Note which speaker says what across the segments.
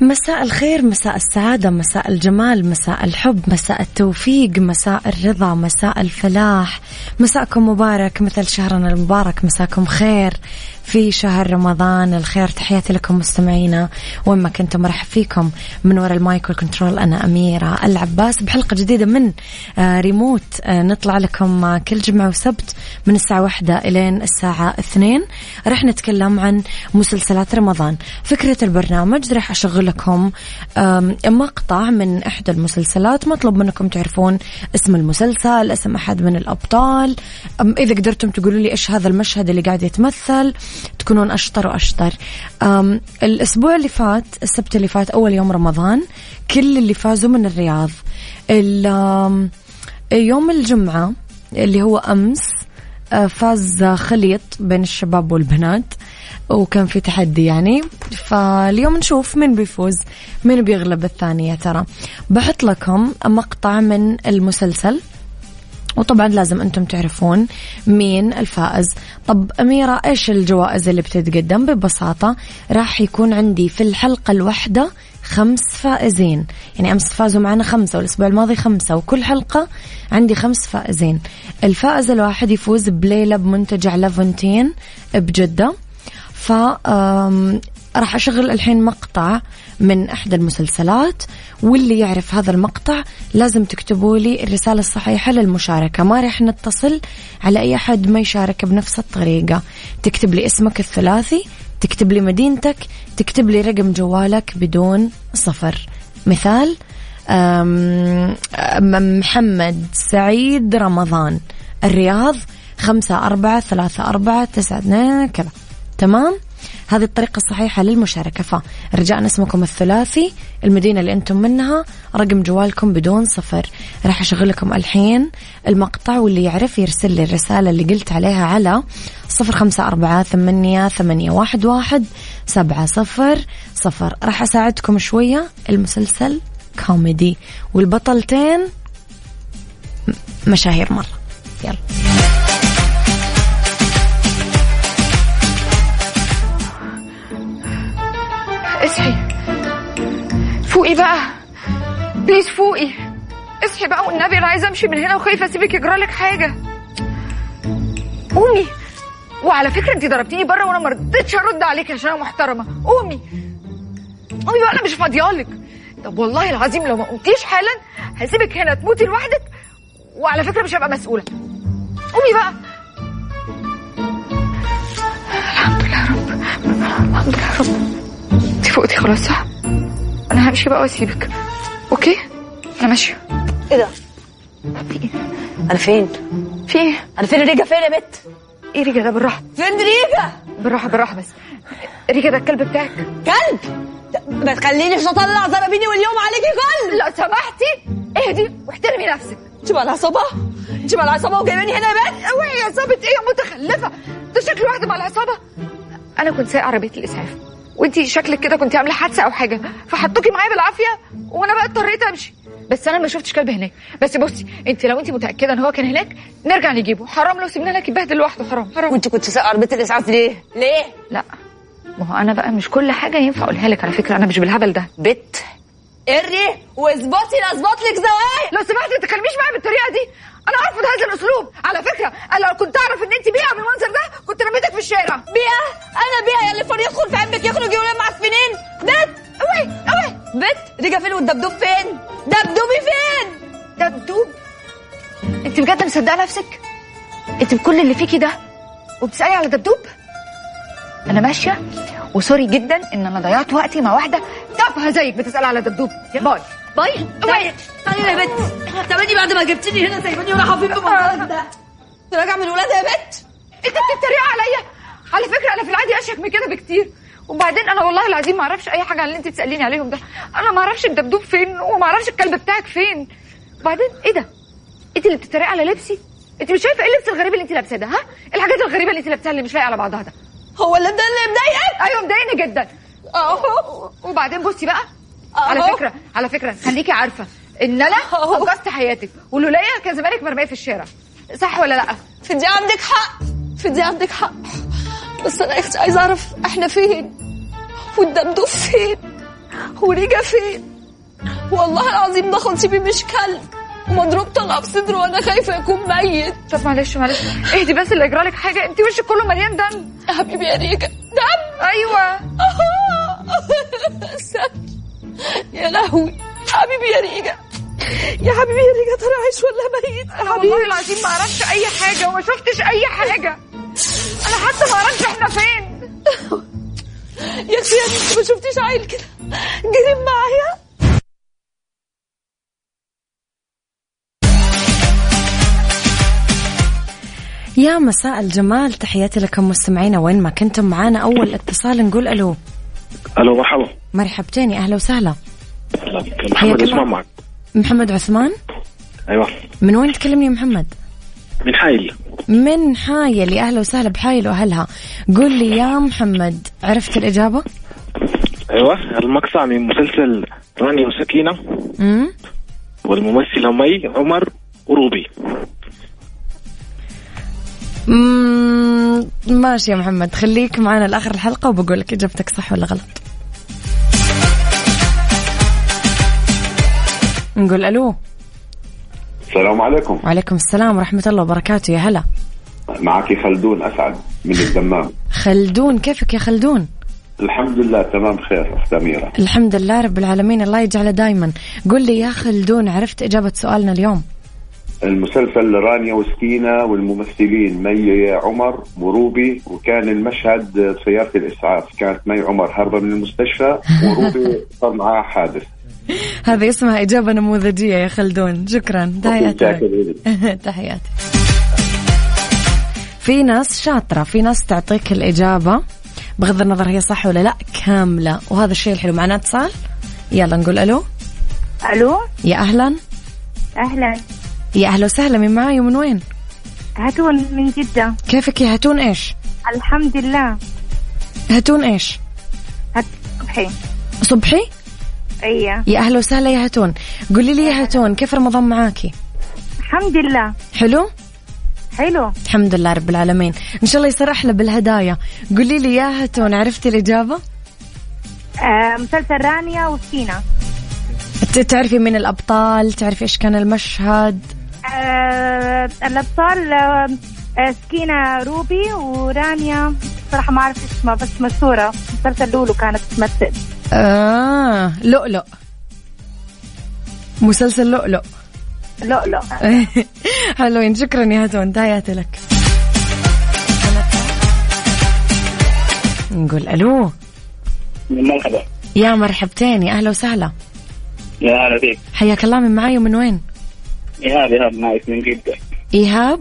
Speaker 1: مساء الخير مساء السعادة مساء الجمال مساء الحب مساء التوفيق مساء الرضا مساء الفلاح مساءكم مبارك مثل شهرنا المبارك مساكم خير في شهر رمضان الخير تحياتي لكم مستمعينا وين ما كنتم مرحب فيكم من وراء المايك والكنترول أنا أميرة العباس بحلقة جديدة من آه، ريموت آه، نطلع لكم آه، كل جمعة وسبت من الساعة واحدة إلين الساعة اثنين راح نتكلم عن مسلسلات رمضان فكرة البرنامج راح أشغل لكم آم، مقطع من إحدى المسلسلات مطلب منكم تعرفون اسم المسلسل اسم أحد من الأبطال أم إذا قدرتم تقولوا لي إيش هذا المشهد اللي قاعد يتمثل تكونون أشطر وأشطر أم، الأسبوع اللي فات السبت اللي فات أول يوم رمضان كل اللي فازوا من الرياض ال- آم، آه، يوم الجمعة اللي هو أمس آه، فاز خليط بين الشباب والبنات وكان في تحدي يعني فاليوم نشوف مين بيفوز مين بيغلب الثاني يا ترى بحط لكم مقطع من المسلسل وطبعا لازم انتم تعرفون مين الفائز طب اميره ايش الجوائز اللي بتتقدم ببساطه راح يكون عندي في الحلقه الواحده خمس فائزين يعني امس فازوا معنا خمسه والاسبوع الماضي خمسه وكل حلقه عندي خمس فائزين الفائز الواحد يفوز بليله بمنتجع لافونتين بجده ف آم، راح اشغل الحين مقطع من احدى المسلسلات واللي يعرف هذا المقطع لازم تكتبوا لي الرساله الصحيحه للمشاركه ما راح نتصل على اي احد ما يشارك بنفس الطريقه تكتب لي اسمك الثلاثي تكتب لي مدينتك تكتب لي رقم جوالك بدون صفر مثال أم- أم- محمد سعيد رمضان الرياض خمسة أربعة ثلاثة أربعة تسعة اثنين كذا تمام هذه الطريقة الصحيحة للمشاركة فرجاء اسمكم الثلاثي المدينة اللي أنتم منها رقم جوالكم بدون صفر راح أشغل لكم الحين المقطع واللي يعرف يرسل لي الرسالة اللي قلت عليها على صفر خمسة أربعة ثمانية, ثمانية واحد, واحد سبعة صفر صفر راح أساعدكم شوية المسلسل كوميدي والبطلتين م- مشاهير مرة يلا
Speaker 2: اصحي فوقي بقى بليز فوقي اصحي بقى والنبي انا عايزه امشي من هنا وخايفه اسيبك يجرالك حاجه قومي وعلى فكره انت ضربتيني بره وانا ما رضيتش ارد عليك عشان انا محترمه قومي قومي بقى انا مش فاضيالك طب والله العظيم لو ما قمتيش حالا هسيبك هنا تموتي لوحدك وعلى فكره مش هبقى مسؤوله قومي بقى الحمد لله يا رب الحمد لله يا رب انت فوقتي خلاص صح؟ انا همشي بقى واسيبك اوكي؟ انا ماشيه
Speaker 3: ايه ده؟
Speaker 2: في ايه؟
Speaker 3: انا فين؟
Speaker 2: في ايه؟
Speaker 3: انا فين ريجا فين يا بت؟
Speaker 2: ايه ريكا ده بالراحه
Speaker 3: فين ريجا؟
Speaker 2: بالراحه بالراحه بس ريكا ده الكلب بتاعك
Speaker 3: كلب ده- ما تخلينيش اطلع زرابيني واليوم عليكي كل
Speaker 2: لو سمحتي اهدي واحترمي نفسك
Speaker 3: شوف العصابه شوف العصابه وجايبيني هنا يا بنت
Speaker 2: اوعي يا عصابه ايه يا متخلفه ده شكل واحده مع العصابه انا كنت سايقه عربيه الاسعاف وانت شكلك كده كنت عامله حادثه او حاجه فحطوكي معايا بالعافيه وانا بقى اضطريت امشي بس انا ما شفتش كلب هناك بس بصي انت لو انت متاكده ان هو كان هناك نرجع نجيبه حرام لو سيبنا لك يتبهدل لوحده حرام حرام
Speaker 3: وانت كنت سايقه عربيه الاسعاف ليه؟ ليه؟
Speaker 2: لا ما هو انا بقى مش كل حاجه ينفع اقولها لك على فكره انا مش بالهبل ده
Speaker 3: بت اري واظبطي لا اظبط لك زوايا
Speaker 2: لو سمحت ما تتكلميش معايا بالطريقه دي انا ارفض هذا الاسلوب على فكره انا لو كنت اعرف ان انت بيئه بالمنظر ده كنت رميتك في الشارع
Speaker 3: بيئه انا بيئه يا اللي فور يدخل في عمك يخرج يقول معفنين بت
Speaker 2: اوعي اوعي
Speaker 3: بت ريجا فين والدبدوب فين؟ دبدوبي فين؟
Speaker 2: ده بتوب انت بجد مصدقه نفسك انت بكل اللي فيكي ده وبتسالي على دبدوب انا ماشيه وسوري جدا ان انا ضيعت وقتي مع واحده تافهه زيك بتسالي على دبدوب باي
Speaker 3: باي
Speaker 2: اوعي
Speaker 3: طيب يا بت تماني بعد ما جبتني هنا سايباني وانا حبيب بمرض ده تراجع من ولادها يا بت
Speaker 2: انت بتتريق عليا على فكره انا في العادي اشيك من كده بكتير وبعدين انا والله العظيم ما اعرفش اي حاجه عن اللي انت تساليني عليهم ده انا ما اعرفش الدبدوب فين وما اعرفش الكلب بتاعك فين وبعدين ايه ده انت اللي بتتريق على لبسي انت مش شايفه ايه اللبس الغريب اللي انت لابساه ده ها الحاجات الغريبه اللي انت لابساها اللي مش لايقه على بعضها ده
Speaker 3: هو اللي ده اللي مضايقك
Speaker 2: ايوه مضايقني جدا
Speaker 3: اهو
Speaker 2: وبعدين بصي بقى على
Speaker 3: أهو.
Speaker 2: فكره على فكره خليكي عارفه ان انا
Speaker 3: أهو.
Speaker 2: انقذت حياتك ولولايا كان زمانك مرميه في الشارع صح ولا لا
Speaker 3: في دي عندك حق في دي عندك حق بس انا يا اختي عايزه اعرف احنا فين والدبدوب فين ورجع فين والله العظيم ده خنصيبي مش كلب ومضروب طلقه في صدره وانا خايفه يكون ميت
Speaker 2: طب معلش معلش اهدي بس اللي يجرى لك حاجه انت وشك كله مليان دم
Speaker 3: يا حبيبي يا ريكا دم
Speaker 2: ايوه
Speaker 3: استنى. يا لهوي حبيبي يا ريكا يا حبيبي يا ريكا ترى عايش ولا ميت يا حبيبي
Speaker 2: والله العظيم ما اعرفش اي حاجه وما شفتش اي حاجه انا حتى ما اعرفش احنا فين
Speaker 3: يا اختي يا بنتي ما شفتيش عيل كده جريم معايا
Speaker 1: يا مساء الجمال تحياتي لكم مستمعينا وين ما كنتم معانا أول اتصال نقول ألو
Speaker 4: الو مرحبا
Speaker 1: مرحبتين يا أهلا وسهلا
Speaker 4: أهلا بك. محمد
Speaker 1: حياك الله.
Speaker 4: اسمع معك
Speaker 1: محمد عثمان
Speaker 4: ايوه
Speaker 1: من وين تكلمني يا محمد
Speaker 4: من حايل
Speaker 1: من حايل يا أهلا وسهلا بحايل وأهلها قل لي يا محمد عرفت الإجابة
Speaker 4: ايوه المقطع من مسلسل راني وسكينه
Speaker 1: امم
Speaker 4: والممثله مي إيه؟ عمر وروبي
Speaker 1: مم، ماشي يا محمد خليك معنا لاخر الحلقه وبقول لك اجابتك صح ولا غلط نقول الو
Speaker 5: السلام عليكم
Speaker 1: وعليكم السلام ورحمه الله وبركاته يا هلا
Speaker 5: معك خلدون اسعد من الدمام
Speaker 1: خلدون كيفك يا خلدون
Speaker 5: الحمد لله تمام خير اخت اميره
Speaker 1: الحمد لله رب العالمين الله يجعله دايما قل لي يا خلدون عرفت اجابه سؤالنا اليوم
Speaker 5: المسلسل رانيا وسكينه والممثلين مي عمر وروبي وكان المشهد بسياره الاسعاف كانت مي عمر هاربه من المستشفى وروبي صار معها حادث
Speaker 1: هذه اسمها اجابه نموذجيه يا خلدون شكرا تحياتي
Speaker 5: شاكر لك.
Speaker 1: تحياتي في ناس شاطرة في ناس تعطيك الإجابة بغض النظر هي صح ولا لا كاملة وهذا الشيء الحلو معنا اتصال يلا نقول ألو
Speaker 6: الو
Speaker 1: يا أهلا
Speaker 6: اهلا
Speaker 1: يا أهلا وسهلا من معاي ومن وين
Speaker 6: هاتون من جدة
Speaker 1: كيفك يا هاتون إيش
Speaker 6: الحمد لله
Speaker 1: هاتون إيش
Speaker 6: هات صبحي
Speaker 1: صبحي
Speaker 6: ايه
Speaker 1: يا أهلا وسهلا يا هاتون قولي لي يا هاتون كيف رمضان معاكي
Speaker 6: الحمد لله
Speaker 1: حلو
Speaker 6: حلو
Speaker 1: الحمد لله رب العالمين إن شاء الله يصير أحلى بالهدايا قولي لي يا هاتون عرفتي الإجابة
Speaker 6: آه مسلسل رانيا وسكينة
Speaker 1: ت- تعرفي مين الأبطال تعرفي إيش كان المشهد
Speaker 6: آه الابطال آه آه، سكينة روبي ورانيا صراحة ما اعرف اسمها بس مشهورة مسلسل لولو كانت تمثل
Speaker 1: آه لؤلؤ مسلسل لؤلؤ
Speaker 6: لؤلؤ
Speaker 1: حلوين شكرا يا هاتون تحياتي لك نقول الو
Speaker 7: مرحبا
Speaker 1: يا مرحبتين يا اهلا وسهلا
Speaker 7: يا هلا فيك
Speaker 1: حياك الله من معاي ومن وين؟
Speaker 7: ايهاب ايهاب معك من جده
Speaker 1: ايهاب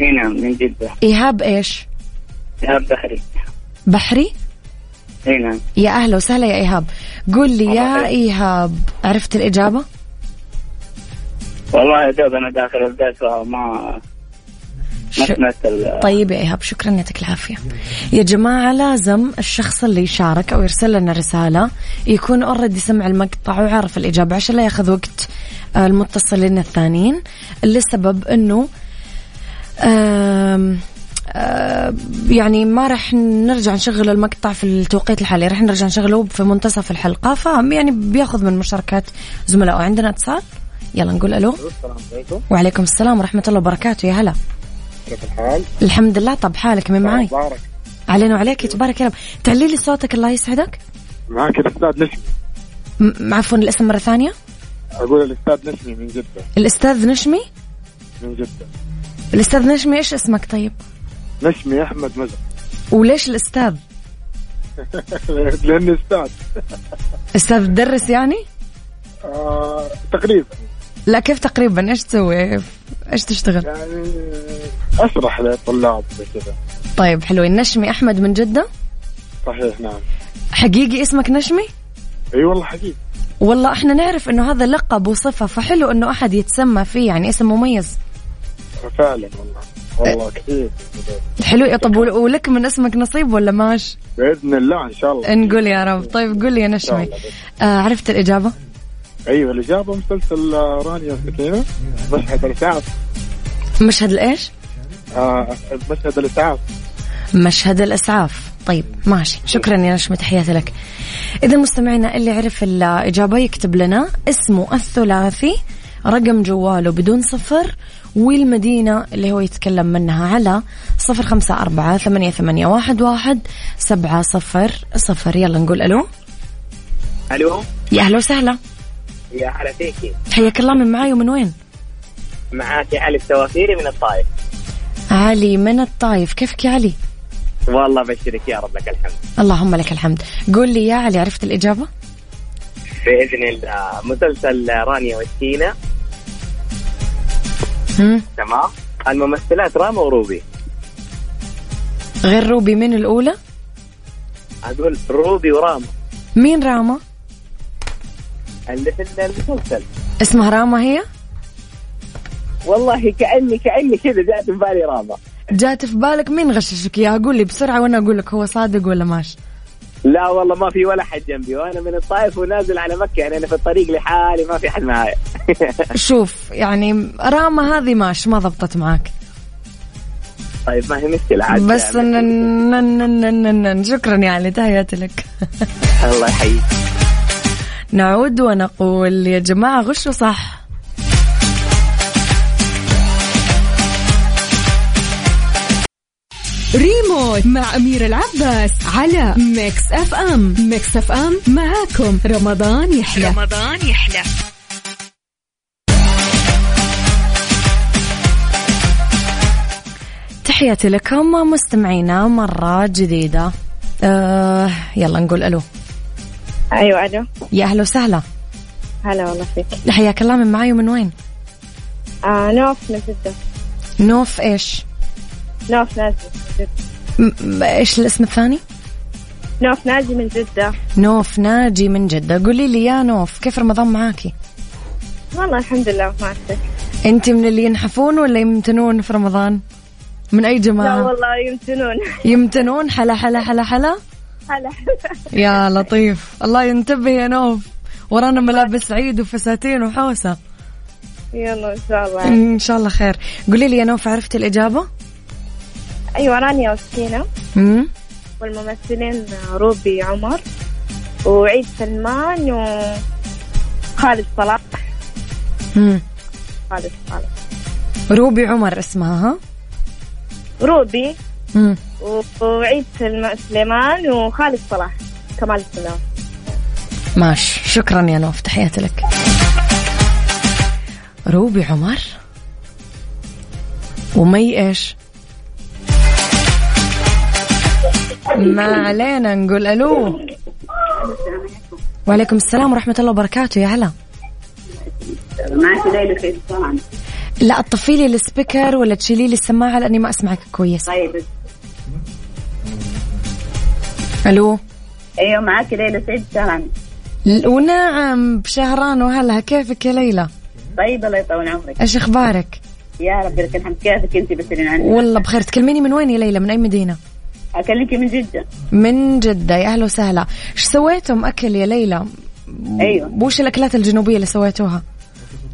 Speaker 7: اي نعم من جده
Speaker 1: ايهاب ايش؟
Speaker 7: ايهاب بحري
Speaker 1: بحري؟
Speaker 7: اي نعم
Speaker 1: يا اهلا وسهلا يا ايهاب قول لي يا
Speaker 7: مرحبا.
Speaker 1: ايهاب عرفت الاجابه؟
Speaker 7: والله يا دوب انا داخل البيت وما ما
Speaker 1: ش-
Speaker 7: سمعت ال-
Speaker 1: طيب يا ايهاب شكرا يعطيك العافيه. يا جماعه لازم الشخص اللي يشارك او يرسل لنا رساله يكون اوريدي سمع المقطع وعرف الاجابه عشان لا ياخذ وقت آه، المتصلين الثانيين لسبب انه آم، آم، يعني ما راح نرجع نشغل المقطع في التوقيت الحالي راح نرجع نشغله في منتصف الحلقه فهم يعني بياخذ من مشاركات زملائه عندنا اتصال يلا نقول الو وعليكم السلام ورحمه الله وبركاته يا هلا
Speaker 8: كيف الحال؟
Speaker 1: الحمد لله طب حالك من معاي
Speaker 8: مبارك
Speaker 1: علينا وعليك تبارك يا رب تعلي لي صوتك الله يسعدك
Speaker 8: معك الاستاذ نسمي
Speaker 1: م- عفوا الاسم مره ثانيه
Speaker 8: اقول الاستاذ نسمي من جده
Speaker 1: الاستاذ نشمي
Speaker 8: من جده
Speaker 1: الاستاذ نشمي ايش اسمك طيب
Speaker 8: نسمي احمد مزر
Speaker 1: وليش الاستاذ
Speaker 8: لاني استاذ
Speaker 1: استاذ تدرس يعني
Speaker 8: آه تقريبا
Speaker 1: لا كيف تقريبا ايش تسوي ايش تشتغل
Speaker 8: يعني اشرح للطلاب زي كذا
Speaker 1: طيب حلوين نشمي احمد من جده
Speaker 8: صحيح نعم
Speaker 1: حقيقي اسمك نشمي
Speaker 8: اي والله حقيقي
Speaker 1: والله احنا نعرف انه هذا لقب وصفه فحلو انه احد يتسمى فيه يعني اسم مميز
Speaker 8: فعلا والله والله كثير
Speaker 1: حلو طب ول- ولك من اسمك نصيب ولا ماش
Speaker 8: باذن الله ان شاء الله
Speaker 1: نقول يا رب طيب قول لي يا نشمي آه عرفت الاجابه
Speaker 8: ايوه الاجابه مسلسل آه، رانيا وسكينه مشهد الاسعاف
Speaker 1: مشهد الايش
Speaker 8: آه مشهد الاسعاف
Speaker 1: مشهد الاسعاف طيب ماشي شكرا يا نشمة تحياتي لك إذا مستمعينا اللي عرف الإجابة يكتب لنا اسمه الثلاثي رقم جواله بدون صفر والمدينة اللي هو يتكلم منها على صفر خمسة أربعة ثمانية, ثمانية واحد, واحد سبعة صفر صفر يلا نقول ألو
Speaker 7: الو
Speaker 1: يا أهلا وسهلا
Speaker 7: يا هلا فيكي
Speaker 1: حياك الله من معاي ومن وين
Speaker 7: معاك علي السوافيري من الطائف
Speaker 1: علي من الطايف كيفك يا علي
Speaker 7: والله بشرك يا رب لك الحمد
Speaker 1: اللهم لك الحمد قول لي يا علي عرفت الإجابة
Speaker 7: باذن الله مسلسل رانيا وسكينه
Speaker 1: هم؟
Speaker 7: تمام الممثلات راما وروبي
Speaker 1: غير روبي من الأولى
Speaker 7: اقول روبي وراما
Speaker 1: مين راما
Speaker 7: اللي في المسلسل
Speaker 1: اسمها راما هي
Speaker 7: والله كاني كاني كذا جات في بالي راما
Speaker 1: جات في بالك مين غششك اياها قول لي بسرعة وأنا أقول لك هو صادق ولا ماشي
Speaker 7: لا والله ما في ولا حد جنبي وانا من الطائف ونازل على مكه يعني انا في الطريق لحالي ما في حد معايا
Speaker 1: شوف يعني راما هذه ماشي ما ضبطت معك
Speaker 7: طيب ما هي مشكله عاد
Speaker 1: بس
Speaker 7: يعني.
Speaker 1: نن- نن- نن- نن- نن. شكرا يا علي تحياتي لك
Speaker 7: الله يحييك
Speaker 1: نعود ونقول يا جماعة غشوا صح
Speaker 9: ريموت مع أميرة العباس على ميكس أف أم ميكس أف أم معاكم رمضان يحلى
Speaker 10: رمضان يحلى
Speaker 1: تحياتي لكم مستمعينا مرة جديدة آه يلا نقول ألو
Speaker 6: ايوه الو
Speaker 1: يا أهلا وسهلا
Speaker 6: هلا والله فيك
Speaker 1: حياك الله من معاي ومن وين
Speaker 6: آه نوف من جدة
Speaker 1: نوف إيش
Speaker 6: نوف نازل من جدة
Speaker 1: م- م- إيش الاسم الثاني
Speaker 6: نوف نازل من جدة
Speaker 1: نوف ناجي من جدة قولي لي يا نوف كيف رمضان معاكي
Speaker 6: والله الحمد لله ما أعرف.
Speaker 1: أنت من اللي ينحفون ولا يمتنون في رمضان من أي
Speaker 6: لا
Speaker 1: جماعة
Speaker 6: والله يمتنون
Speaker 1: يمتنون حلا حلا حلا حلا
Speaker 6: هلا
Speaker 1: يا لطيف الله ينتبه يا نوف ورانا ملابس عيد وفساتين وحوسة
Speaker 6: يلا ان شاء الله
Speaker 1: إن شاء الله خير قولي لي يا نوف عرفتي الإجابة
Speaker 6: ايوه رانيا وسكينة
Speaker 1: مم؟
Speaker 6: والممثلين روبي عمر وعيد سلمان وخالد صلاح
Speaker 1: مم.
Speaker 6: خالد صلاح
Speaker 1: روبي عمر اسمها ها
Speaker 6: روبي
Speaker 1: مم.
Speaker 6: وعيد سلم- سليمان وخالد صلاح كمال السلام
Speaker 1: ماشي شكرا يا نوف تحياتي لك روبي عمر ومي ايش ما علينا نقول الو وعليكم السلام ورحمة الله وبركاته يا هلا
Speaker 11: معك ليلى في طبعا
Speaker 1: لا تطفي لي السبيكر ولا تشيلي لي السماعة لأني ما أسمعك كويس
Speaker 11: طيب
Speaker 1: ألو
Speaker 11: ايوه معك ليلى سعيد طبعا
Speaker 1: ل- ونعم بشهران وهلا كيفك يا ليلى
Speaker 11: طيب الله يطول عمرك
Speaker 1: إيش أخبارك
Speaker 11: يا رب لك الحمد كيفك انت بس اللي عندي
Speaker 1: والله بخير تكلميني من وين يا ليلى من أي مدينة
Speaker 11: اكلمك من جده
Speaker 1: من جدة يا أهلا وسهلا إيش سويتم أكل يا ليلى
Speaker 11: ايوه
Speaker 1: وش الأكلات الجنوبية اللي سويتوها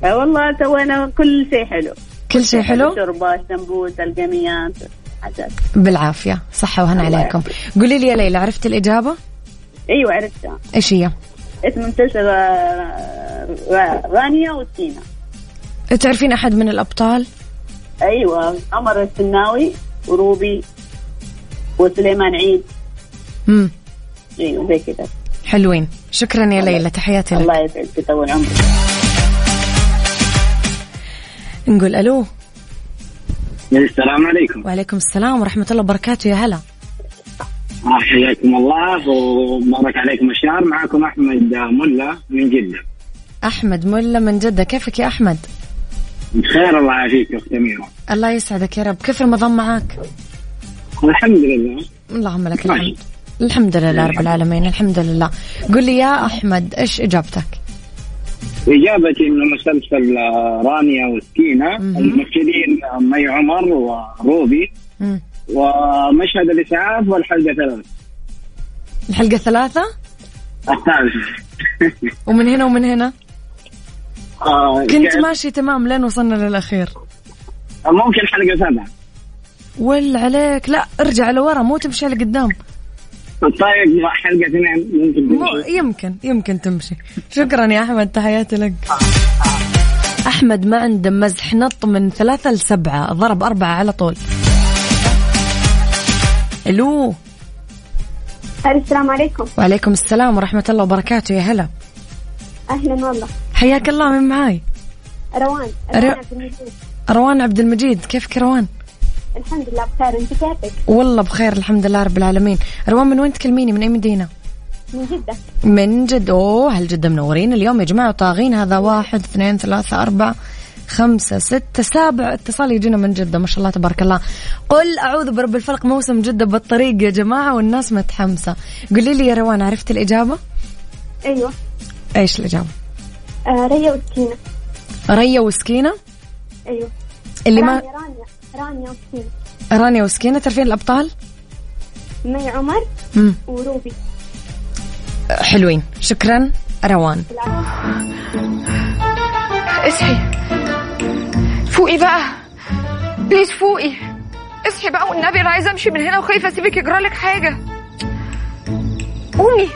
Speaker 11: آه والله سوينا كل شيء حلو
Speaker 1: كل شيء حلو
Speaker 11: شوربه سمبوسه القميات حاجات
Speaker 1: بالعافية صحة وهنا عليكم قولي لي يا ليلى عرفت الإجابة
Speaker 11: ايوه عرفتها
Speaker 1: إيش هي
Speaker 11: اسم مسلسل آه، را- رانيا وسكينه
Speaker 1: تعرفين أحد من الأبطال
Speaker 11: ايوه قمر السناوي وروبي وسليمان عيد
Speaker 1: مم.
Speaker 11: ايوه زي كذا
Speaker 1: حلوين شكرا يا ليلى تحياتي لك
Speaker 11: الله يسعدك يطول عمرك
Speaker 1: نقول ألو
Speaker 7: السلام عليكم
Speaker 1: وعليكم السلام ورحمة الله وبركاته يا هلا
Speaker 7: حياكم الله ومبارك عليكم الشهر معكم احمد ملا من جده
Speaker 1: أحمد ملا من جدة كيفك يا أحمد
Speaker 7: بخير الله يعافيك يا اخت اميره
Speaker 1: الله يسعدك يا رب كيف رمضان معاك
Speaker 7: الحمد لله
Speaker 1: اللهم لك الحمد الحمد لله رب العالمين الحمد لله قل لي يا أحمد إيش إجابتك
Speaker 7: اجابتي انه مسلسل رانيا وسكينه
Speaker 1: مهم.
Speaker 7: الممثلين مي عمر وروبي
Speaker 1: مم.
Speaker 7: ومشهد الاسعاف والحلقه ثلاث
Speaker 1: الحلقة ثلاثة
Speaker 7: الثالثه
Speaker 1: ومن هنا ومن هنا
Speaker 7: آه،
Speaker 1: كنت
Speaker 7: كان-
Speaker 1: ماشي تمام لين وصلنا للأخير
Speaker 7: ممكن حلقه سبعه
Speaker 1: ول عليك لا ارجع لورا مو تمشي لقدام
Speaker 7: الطايق مع حلقه طيب، اثنين ممكن
Speaker 1: مو- يمكن يمكن تمشي شكرا يا احمد تحياتي لك احمد ما عنده مزح نط من ثلاثة لسبعة ضرب أربعة على طول الو
Speaker 10: السلام عليكم
Speaker 1: وعليكم السلام ورحمة الله وبركاته يا هلا
Speaker 10: اهلا والله
Speaker 1: حياك الله من معاي
Speaker 10: روان
Speaker 1: رو-
Speaker 10: روان عبد المجيد.
Speaker 1: روان عبد المجيد كيفك روان
Speaker 10: الحمد لله بخير انت كيفك
Speaker 1: والله بخير الحمد لله رب العالمين روان من وين تكلميني من أي مدينة
Speaker 10: من جدة
Speaker 1: من جد اوه هل جد منورين اليوم يا جماعة وطاغين هذا واحد اثنين ثلاثة أربعة خمسة ستة سابع اتصال يجينا من جدة ما شاء الله تبارك الله قل أعوذ برب الفلق موسم جدة بالطريق يا جماعة والناس متحمسة قولي لي يا روان عرفت الإجابة
Speaker 10: ايوه
Speaker 1: إيش الإجابة
Speaker 10: آه ريا وسكينة
Speaker 1: ريا وسكينة
Speaker 10: ايوه
Speaker 1: اللي
Speaker 10: رانيا
Speaker 1: ما
Speaker 10: رانيا رانيا وسكينة
Speaker 1: رانيا وسكينة تعرفين الأبطال
Speaker 10: مي عمر
Speaker 1: مم.
Speaker 10: وروبي
Speaker 1: حلوين شكرا روان
Speaker 2: اصحي فوقي بقى بليز فوقي اصحي بقى والنبي انا عايزه امشي من هنا وخايفه اسيبك يجرى لك حاجه قومي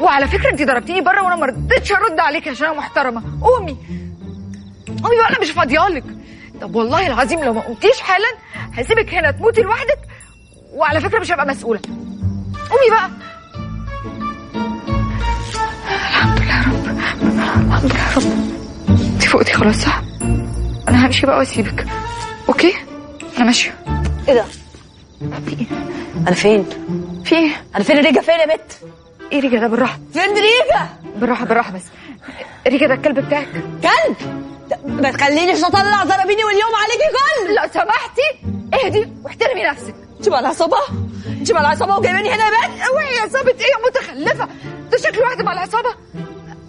Speaker 2: وعلى فكره انت ضربتيني بره وانا ما رضيتش ارد عليك عشان انا محترمه قومي قومي بقى انا مش فاضيالك طب والله العظيم لو ما قمتيش حالا هسيبك هنا تموتي لوحدك وعلى فكره مش هبقى مسؤوله قومي بقى الحمد لله يا رب الحمد لله يا رب انت فوقتي خلاص صح؟ انا همشي بقى واسيبك اوكي انا ماشيه
Speaker 12: ايه ده؟ انا فين؟
Speaker 2: في ايه؟
Speaker 12: انا فين ريجا فين يا بت؟
Speaker 2: ايه ريجا ده بالراحه
Speaker 12: فين ريجا؟
Speaker 2: بالراحه بالراحه بس ريجا ده الكلب بتاعك
Speaker 12: كلب ما تخلينيش اطلع ضربيني واليوم عليكي كل
Speaker 2: لو سمحتي اهدي واحترمي نفسك
Speaker 12: انت مالها عصابه؟ انت مالها عصابه وجايباني هنا يا بنت؟
Speaker 2: اوعي عصابه ايه يا متخلفه ده شكل واحده مع العصابه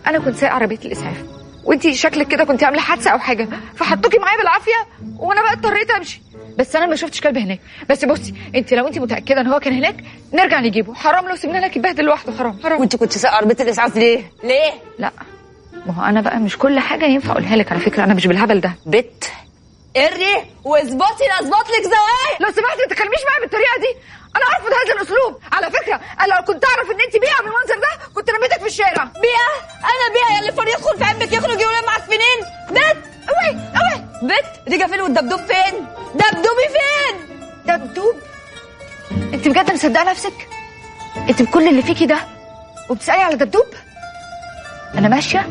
Speaker 2: انا كنت سايقه عربيه الاسعاف وانتي شكلك كده كنت عامله حادثه او حاجه فحطوكي معايا بالعافيه وانا بقى اضطريت امشي بس انا ما شفتش كلب هناك بس بصي انت لو انت متاكده ان هو كان هناك نرجع نجيبه حرام لو سيبنا لك يتبهدل لوحده حرام حرام
Speaker 12: وانت كنت سايقه عربيه الاسعاف ليه؟ ليه؟
Speaker 2: لا ما هو انا بقى مش كل حاجه ينفع اقولها لك على فكره انا مش بالهبل ده
Speaker 12: بت اري واظبطي لا اظبط لك زوايا
Speaker 2: لو سمحتي ما تتكلميش معايا بالطريقه دي انا ارفض هذا الاسلوب على فكره انا لو كنت اعرف ان انت بيئه بالمنظر ده كنت رميتك في الشارع
Speaker 12: بيها انا بيها يا اللي فريق يدخل في عمك يخرج يقول معاك فينين بت اوي اوي بت ريجا فين والدبدوب فين؟ دبدوبي فين؟
Speaker 2: دبدوب انت بجد مصدقه نفسك انت بكل اللي فيكي ده وبتسالي على دبدوب انا ماشيه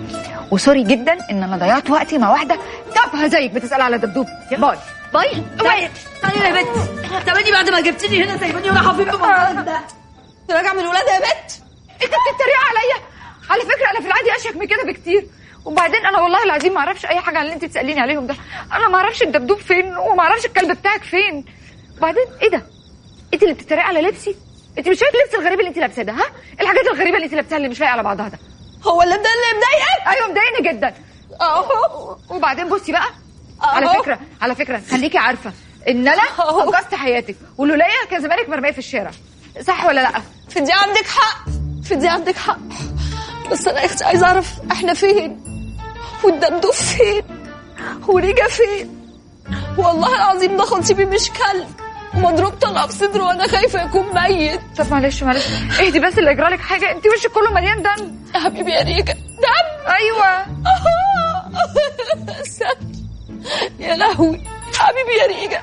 Speaker 2: وسوري جدا ان انا ضيعت وقتي مع واحده تافهه زيك بتسالي على دبدوب باي
Speaker 12: باي باي تعالي يا بت تعباني بعد ما جبتني هنا سايباني وانا حبيبي بالولد ده راجع من ولادها يا بت
Speaker 2: انت بتتريق عليا على فكره انا في العادي اشيك من كده بكتير وبعدين انا والله العظيم ما اعرفش اي حاجه عن اللي انت بتساليني عليهم ده انا ما اعرفش الدبدوب فين وما اعرفش الكلب بتاعك فين وبعدين ايه ده انت اللي بتتريق على لبسي انت مش شايف اللبس الغريب اللي انت لابساه ده ها الحاجات الغريبه اللي انت لابساها اللي مش لايقه على بعضها ده
Speaker 12: هو اللي ده اللي مضايقك
Speaker 2: ايوه مضايقني جدا
Speaker 12: اهو
Speaker 2: وبعدين بصي بقى على
Speaker 12: أهو.
Speaker 2: فكره على فكره خليكي عارفه ان انا انقذت حياتك ولولايا كان زمانك مرميه في الشارع صح ولا لا
Speaker 12: في دي عندك حق في دي عندك حق بس انا يا اختي عايزه اعرف احنا فين والدبدوب فين وريجا فين والله العظيم ده خطيبي مش كلب ومضروب طلقه في صدره وانا خايفه يكون ميت
Speaker 2: طب معلش معلش اهدي بس اللي يجرى لك حاجه انت وشك كله مليان دم
Speaker 12: يا حبيبي يا ريجا دم
Speaker 2: ايوه
Speaker 12: سد. يا لهوي حبيبي يا ريجا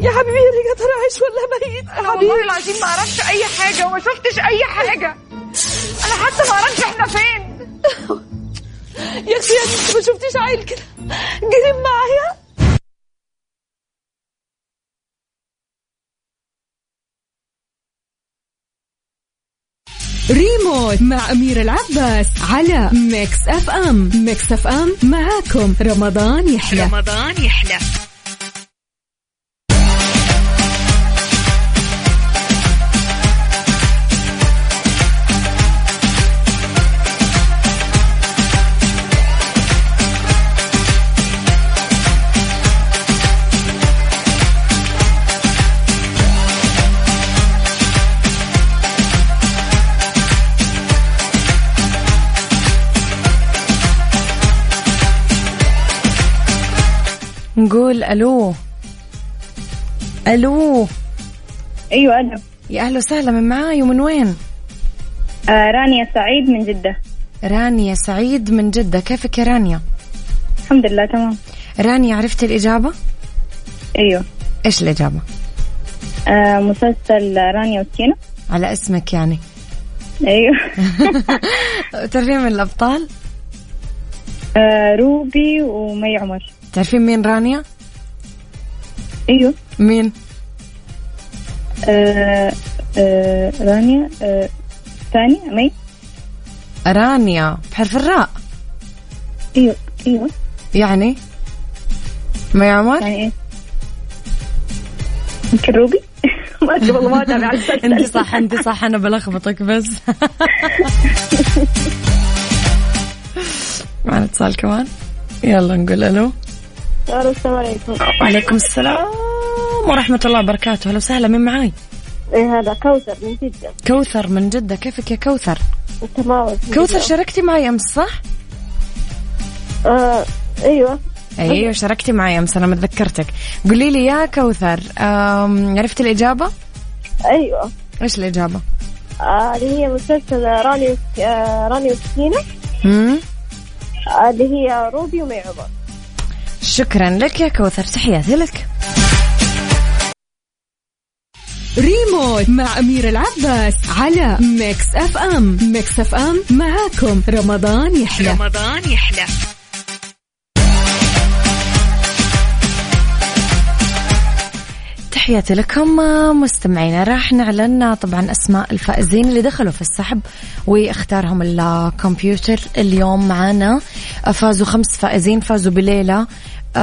Speaker 12: يا حبيبي يا ريجا ترى عايش ولا ميت
Speaker 2: انا والله العظيم ما اعرفش اي حاجه وما شفتش اي حاجه انا حتى ما اعرفش احنا فين
Speaker 12: يا اختي يا بنتي ما شفتيش عيل كده جريم معايا
Speaker 9: ريموت مع أمير العباس على ميكس أف أم ميكس أف أم معاكم رمضان يحلى
Speaker 13: رمضان يحلى
Speaker 1: نقول ألو ألو
Speaker 11: أيوة،
Speaker 6: ايوه انا
Speaker 1: يا أهلا وسهلا من معاي ومن وين؟
Speaker 13: آه رانيا سعيد من جدة
Speaker 1: رانيا سعيد من جدة كيفك يا رانيا؟
Speaker 13: الحمد لله تمام
Speaker 1: رانيا عرفت الإجابة؟
Speaker 13: أيوه
Speaker 1: إيش الإجابة؟
Speaker 13: آه مسلسل رانيا وسكينة
Speaker 1: على اسمك يعني
Speaker 13: أيوه
Speaker 1: تعرفين من الأبطال؟
Speaker 13: آه روبي ومي عمر
Speaker 1: تعرفين مين رانيا؟
Speaker 6: أيوة.
Speaker 13: أيوه
Speaker 1: مين؟
Speaker 13: آه آه رانيا آه ثاني مي
Speaker 1: رانيا بحرف الراء
Speaker 6: أيوة،
Speaker 13: ايوه ايوه
Speaker 1: يعني مي عمر
Speaker 13: يعني
Speaker 14: إيه؟
Speaker 13: ايه يمكن روبي ما ادري والله ما اتابع
Speaker 1: انت صح انت صح انا بلخبطك بس معنا اتصال كمان يلا نقول الو
Speaker 14: السلام عليكم
Speaker 1: وعليكم السلام ورحمة الله وبركاته أهلا وسهلا من معاي
Speaker 14: ايه هذا كوثر من جدة
Speaker 1: كوثر من جدة كيفك يا كوثر
Speaker 14: تمام
Speaker 1: كوثر شاركتي معي أمس صح؟
Speaker 14: آه ايوه
Speaker 1: ايوه شاركتي معي امس انا متذكرتك قولي لي يا كوثر آم، عرفت الاجابه
Speaker 14: ايوه
Speaker 1: ايش الاجابه
Speaker 14: آه، اللي هي مسلسل راني وس- آه، راني وسكينة
Speaker 1: مم؟
Speaker 14: آه، اللي هي روبي ومي عمر
Speaker 1: شكرا لك يا كوثر تحياتي لك
Speaker 9: ريموت مع أمير العباس على ميكس أف أم ميكس أف أم معاكم رمضان يحلى
Speaker 15: رمضان يحلى
Speaker 1: تحياتي لكم مستمعينا راح نعلن طبعا اسماء الفائزين اللي دخلوا في السحب واختارهم الكمبيوتر اليوم معنا فازوا خمس فائزين فازوا بليله أم- أم-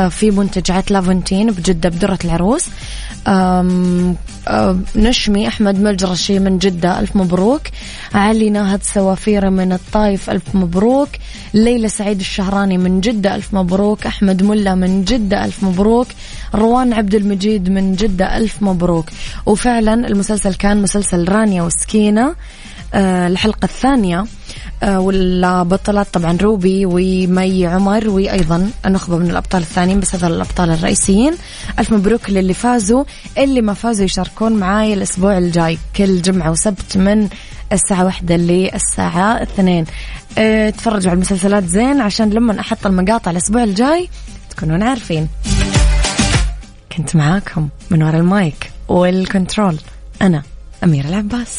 Speaker 1: أه، في منتجعات لافنتين بجدة بدرة العروس أم- أم، نشمي أحمد ملجرشي من جدة ألف مبروك علي ناهد سوافيرة من الطايف ألف مبروك ليلى سعيد الشهراني من جدة ألف مبروك أحمد ملا من جدة ألف مبروك روان عبد المجيد من جدة ألف مبروك وفعلا المسلسل كان مسلسل رانيا وسكينة آه، الحلقة الثانية آه، والبطلات طبعا روبي ومي عمر وأيضا نخبة من الأبطال الثانيين بس هذول الأبطال الرئيسيين ألف مبروك للي فازوا اللي ما فازوا يشاركون معاي الأسبوع الجاي كل جمعة وسبت من الساعة واحدة للساعة اثنين آه، تفرجوا على المسلسلات زين عشان لما أحط المقاطع الأسبوع الجاي تكونون عارفين كنت معاكم من وراء المايك والكنترول أنا أميرة العباس